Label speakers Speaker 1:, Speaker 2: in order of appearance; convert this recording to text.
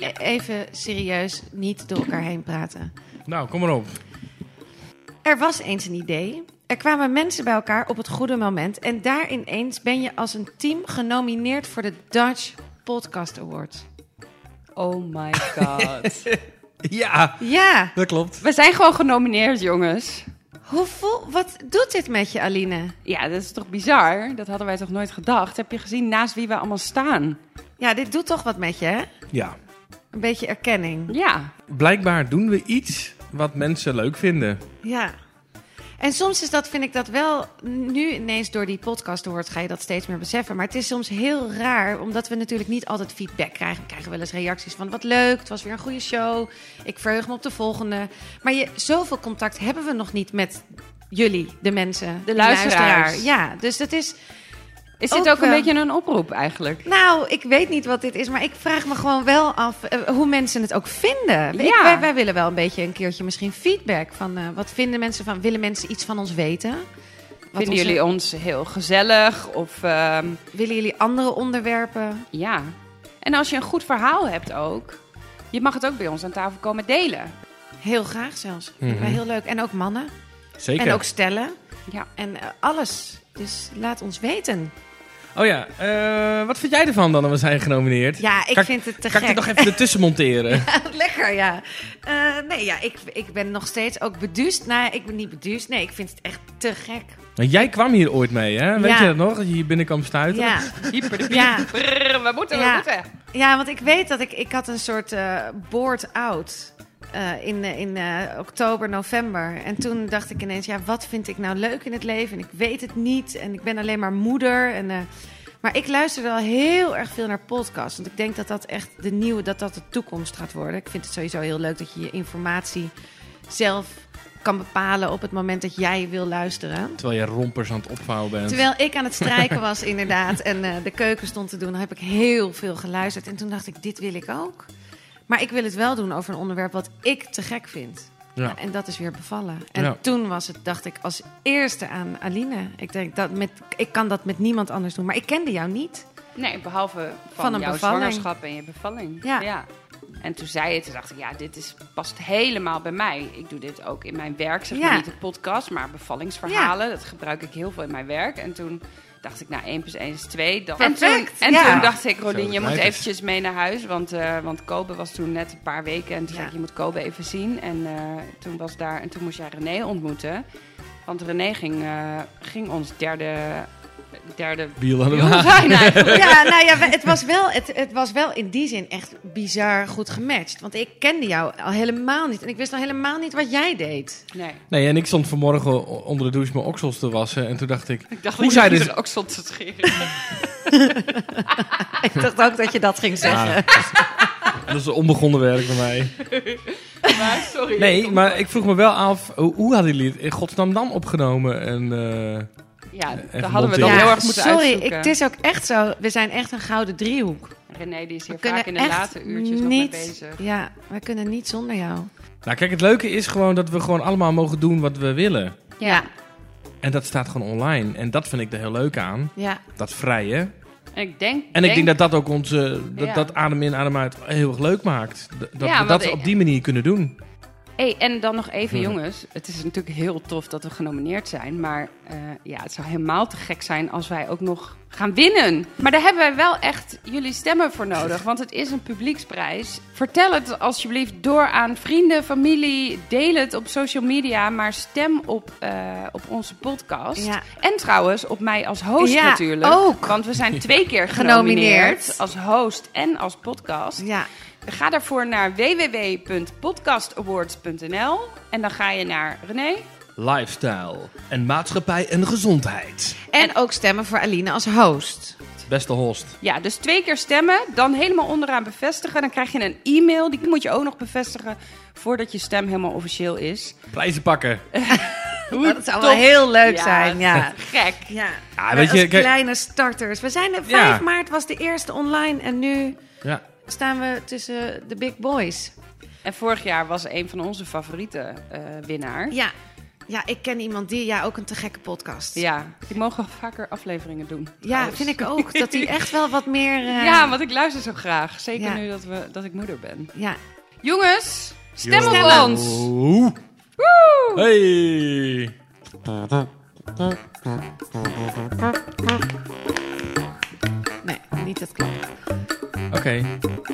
Speaker 1: E- Even serieus, niet door elkaar heen praten.
Speaker 2: Nou, kom maar op.
Speaker 1: Er was eens een idee. Er kwamen mensen bij elkaar op het goede moment. En daar ineens ben je als een team genomineerd voor de Dutch Podcast Award.
Speaker 3: Oh my god.
Speaker 2: Ja,
Speaker 1: Ja,
Speaker 2: dat klopt.
Speaker 3: We zijn gewoon genomineerd, jongens.
Speaker 1: hoe voel, wat doet dit met je, Aline?
Speaker 3: Ja, dat is toch bizar? Dat hadden wij toch nooit gedacht? Heb je gezien naast wie we allemaal staan?
Speaker 1: Ja, dit doet toch wat met je, hè?
Speaker 2: Ja.
Speaker 1: Een beetje erkenning.
Speaker 3: Ja.
Speaker 2: Blijkbaar doen we iets wat mensen leuk vinden.
Speaker 1: Ja. En soms is dat, vind ik dat wel, nu ineens door die podcast hoort, ga je dat steeds meer beseffen. Maar het is soms heel raar, omdat we natuurlijk niet altijd feedback krijgen. We krijgen wel eens reacties van, wat leuk, het was weer een goede show. Ik verheug me op de volgende. Maar je, zoveel contact hebben we nog niet met jullie, de mensen.
Speaker 3: De
Speaker 1: die
Speaker 3: luisteraars.
Speaker 1: Ja, dus dat is...
Speaker 3: Is dit
Speaker 1: Ook eh,
Speaker 3: ook, een
Speaker 1: wel.
Speaker 3: beetje een oproep eigenlijk?
Speaker 1: Nou, ik weet niet wat dit is, maar ik vraag me gewoon wel af eh, hoe mensen het ook vinden. Ik-
Speaker 3: Ja.
Speaker 1: wij, wij willen wel een beetje een keertje misschien feedback van eh, wat vinden mensen van, willen mensen iets van ons weten? Wat
Speaker 3: Vinden
Speaker 1: onze-
Speaker 3: jullie ons heel gezellig? Of ehm,
Speaker 1: willen jullie andere onderwerpen?
Speaker 3: ja. En als je een goed verhaal hebt ook, je mag het ook bij ons aan tafel komen delen.
Speaker 1: Heel graag zelfs. Vinden wij
Speaker 2: Mhm.
Speaker 1: heel leuk. En ook mannen.
Speaker 2: Zeker.
Speaker 1: En ook stellen.
Speaker 3: Ja.
Speaker 1: En eh, alles. Dus laat ons weten.
Speaker 2: Oh ja, eh, wat vind jij ervan dan dat we zijn genomineerd?
Speaker 1: Ja, ik
Speaker 2: Kan ik-
Speaker 1: vind het te
Speaker 2: kan
Speaker 1: gek.
Speaker 2: ik dit nog even ertussen monteren?
Speaker 1: Lekker, ja. Eh, nee, ja, ik, ik ben nog steeds ook beduust. Nou, ik ben niet beduust. Nee, ik vind het echt te gek.
Speaker 2: Want jij kwam hier ooit mee, hè? Weet
Speaker 1: Ja.
Speaker 2: je dat nog? Dat je hier binnen kwam stuiten?
Speaker 1: Ja.
Speaker 3: Hyper de
Speaker 1: Ja.
Speaker 3: Brrr, we moeten,
Speaker 1: Ja.
Speaker 3: we moeten.
Speaker 1: Ja, want ik weet dat ik, ik had een soort eh board out eh, in, eh, in eh, oktober, november. En toen dacht ik ineens, ja, wat vind ik nou leuk in het leven? En ik weet het niet. En ik ben alleen maar moeder. En, eh, maar ik luister wel heel erg veel naar podcasts. Want ik denk dat dat echt de nieuwe, dat dat de toekomst gaat worden. Ik vind het sowieso heel leuk dat je je informatie zelf kan bepalen op het moment dat jij wil luisteren.
Speaker 2: Terwijl je rompers aan het opvouwen bent.
Speaker 1: Terwijl ik aan het strijken was, inderdaad, en eh, de keuken stond te doen, heb ik heel veel geluisterd. En toen dacht ik, dit wil ik ook. Maar ik wil het wel doen over een onderwerp wat ik te gek vind.
Speaker 2: Ja.
Speaker 1: En dat is weer bevallen. En
Speaker 2: Ja.
Speaker 1: toen was het, dacht ik, als eerste aan Aline. Ik denk, dat met, ik kan dat met niemand anders doen. Maar ik kende jou niet.
Speaker 3: Nee, behalve van,
Speaker 1: Van een
Speaker 3: jouw
Speaker 1: bevalling.
Speaker 3: zwangerschap en je bevalling.
Speaker 1: Ja.
Speaker 3: En toen zei je, toen dacht ik, ja, dit is, past helemaal bij mij. Ik doe dit ook in mijn werk, zeg
Speaker 1: Ja.
Speaker 3: maar niet de podcast, maar bevallingsverhalen. Dat gebruik ik heel veel in mijn werk. En toen dacht ik, nou, 1 plus 1 is 2. Dan... En, toen,
Speaker 1: Perfect,
Speaker 3: en
Speaker 1: ja.
Speaker 3: toen dacht ik, Rodin,
Speaker 2: Zo
Speaker 3: je moet
Speaker 2: lijkt het.
Speaker 3: eventjes mee naar huis. Want, eh, want Kobe was toen net een paar weken. En
Speaker 1: Ja.
Speaker 3: toen zei ik, je moet Kobe even zien. En, eh, toen was daar, en toen moest jij René ontmoeten. Want René ging, eh, ging ons derde... Derde
Speaker 2: Biel aan de
Speaker 3: wiel
Speaker 2: wagen.
Speaker 3: zijn eigenlijk.
Speaker 1: Ja, nou ja, we- het was, wel, het, het was wel in die zin echt bizar goed gematcht. Want ik kende jou al helemaal niet. En ik wist al helemaal niet wat jij deed.
Speaker 3: Nee.
Speaker 2: Nee, en ik stond vanmorgen o- onder de douche mijn oksels te wassen. En toen dacht ik,
Speaker 3: Ik dacht
Speaker 2: Hoe
Speaker 3: Hoe
Speaker 2: zij
Speaker 3: dat je
Speaker 2: dus-
Speaker 3: er ook stond te scheren.
Speaker 1: Ik dacht ook dat je dat ging zeggen.
Speaker 2: ah, dat is- dat is een onbegonnen werk bij mij.
Speaker 3: Maar sorry.
Speaker 2: Nee, maar ik vroeg me wel af, hoe, hoe hadden jullie het in godsnaam dan opgenomen? En, eh,
Speaker 3: Ja,
Speaker 2: Even
Speaker 3: daar hadden we dan
Speaker 2: monteren.
Speaker 3: heel erg moeten
Speaker 1: sorry,
Speaker 3: uitzoeken.
Speaker 1: ik, het is ook echt zo. We zijn echt een gouden driehoek.
Speaker 3: René die is
Speaker 1: We
Speaker 3: hier vaak in de
Speaker 1: echt
Speaker 3: late uurtjes nog mee
Speaker 1: niet,
Speaker 3: bezig.
Speaker 1: Ja, we kunnen niet zonder jou.
Speaker 2: Nou kijk, het leuke is gewoon dat we gewoon allemaal mogen doen wat we willen.
Speaker 1: Ja,
Speaker 2: En dat staat gewoon online. En dat vind ik er heel leuk aan.
Speaker 1: ja.
Speaker 2: Dat vrije.
Speaker 3: En ik denk,
Speaker 2: En ik denk dat dat ook onze, dat,
Speaker 3: Ja.
Speaker 2: dat adem in, adem uit heel erg leuk maakt. D- Dat
Speaker 3: Ja,
Speaker 2: we dat
Speaker 3: want
Speaker 2: op
Speaker 3: ik-
Speaker 2: die manier kunnen doen.
Speaker 3: Hey, en dan nog even,
Speaker 2: Ja.
Speaker 3: jongens. Het is natuurlijk heel tof dat we genomineerd zijn. Maar eh, ja, het zou helemaal te gek zijn als wij ook nog gaan winnen. Maar daar hebben wij wel echt jullie stemmen voor nodig. Want het is een publieksprijs. Vertel het alsjeblieft door aan vrienden, familie. Deel het op social media. Maar stem op, eh, op onze podcast.
Speaker 1: Ja.
Speaker 3: En trouwens op mij als host
Speaker 1: Ja,
Speaker 3: natuurlijk.
Speaker 1: ook.
Speaker 3: Want we zijn twee keer
Speaker 1: Genomineerd.
Speaker 3: genomineerd. Als host en als podcast.
Speaker 1: ja.
Speaker 3: Ga daarvoor naar www.podcastawards.nl en dan ga je naar René.
Speaker 2: Lifestyle en maatschappij en gezondheid.
Speaker 1: En ook stemmen voor Aline als host.
Speaker 2: Beste host.
Speaker 3: Ja, dus twee keer stemmen, dan helemaal onderaan bevestigen. Dan krijg je een e-mail, die moet je ook nog bevestigen voordat je stem helemaal officieel is.
Speaker 2: Prijzen pakken.
Speaker 1: Dat zou wel
Speaker 3: top.
Speaker 1: heel leuk
Speaker 3: Ja,
Speaker 1: zijn, ja.
Speaker 3: Gek.
Speaker 1: Ja,
Speaker 2: Ja,
Speaker 1: Wij
Speaker 2: weet je,
Speaker 1: als
Speaker 2: kijk-
Speaker 1: kleine starters. We zijn er, 5
Speaker 2: Ja.
Speaker 1: maart was de eerste online en nu
Speaker 2: Ja.
Speaker 1: staan we tussen de big boys.
Speaker 3: En vorig jaar was een van onze favoriete eh, winnaar.
Speaker 1: Ja, Ja, ik ken iemand die, ja, ook een te gekke podcast.
Speaker 3: Ja, die mogen vaker afleveringen doen.
Speaker 1: Ja,
Speaker 3: trouwens.
Speaker 1: vind ik ook. Dat die echt wel wat meer... eh,
Speaker 3: Ja, want ik luister zo graag. Zeker
Speaker 1: Ja.
Speaker 3: nu dat, we, dat ik moeder ben.
Speaker 1: ja.
Speaker 3: Jongens, stem op
Speaker 1: Stemmen.
Speaker 3: ons!
Speaker 2: Oeh. Hey.
Speaker 1: Nee, niet dat klopt.
Speaker 2: Oké.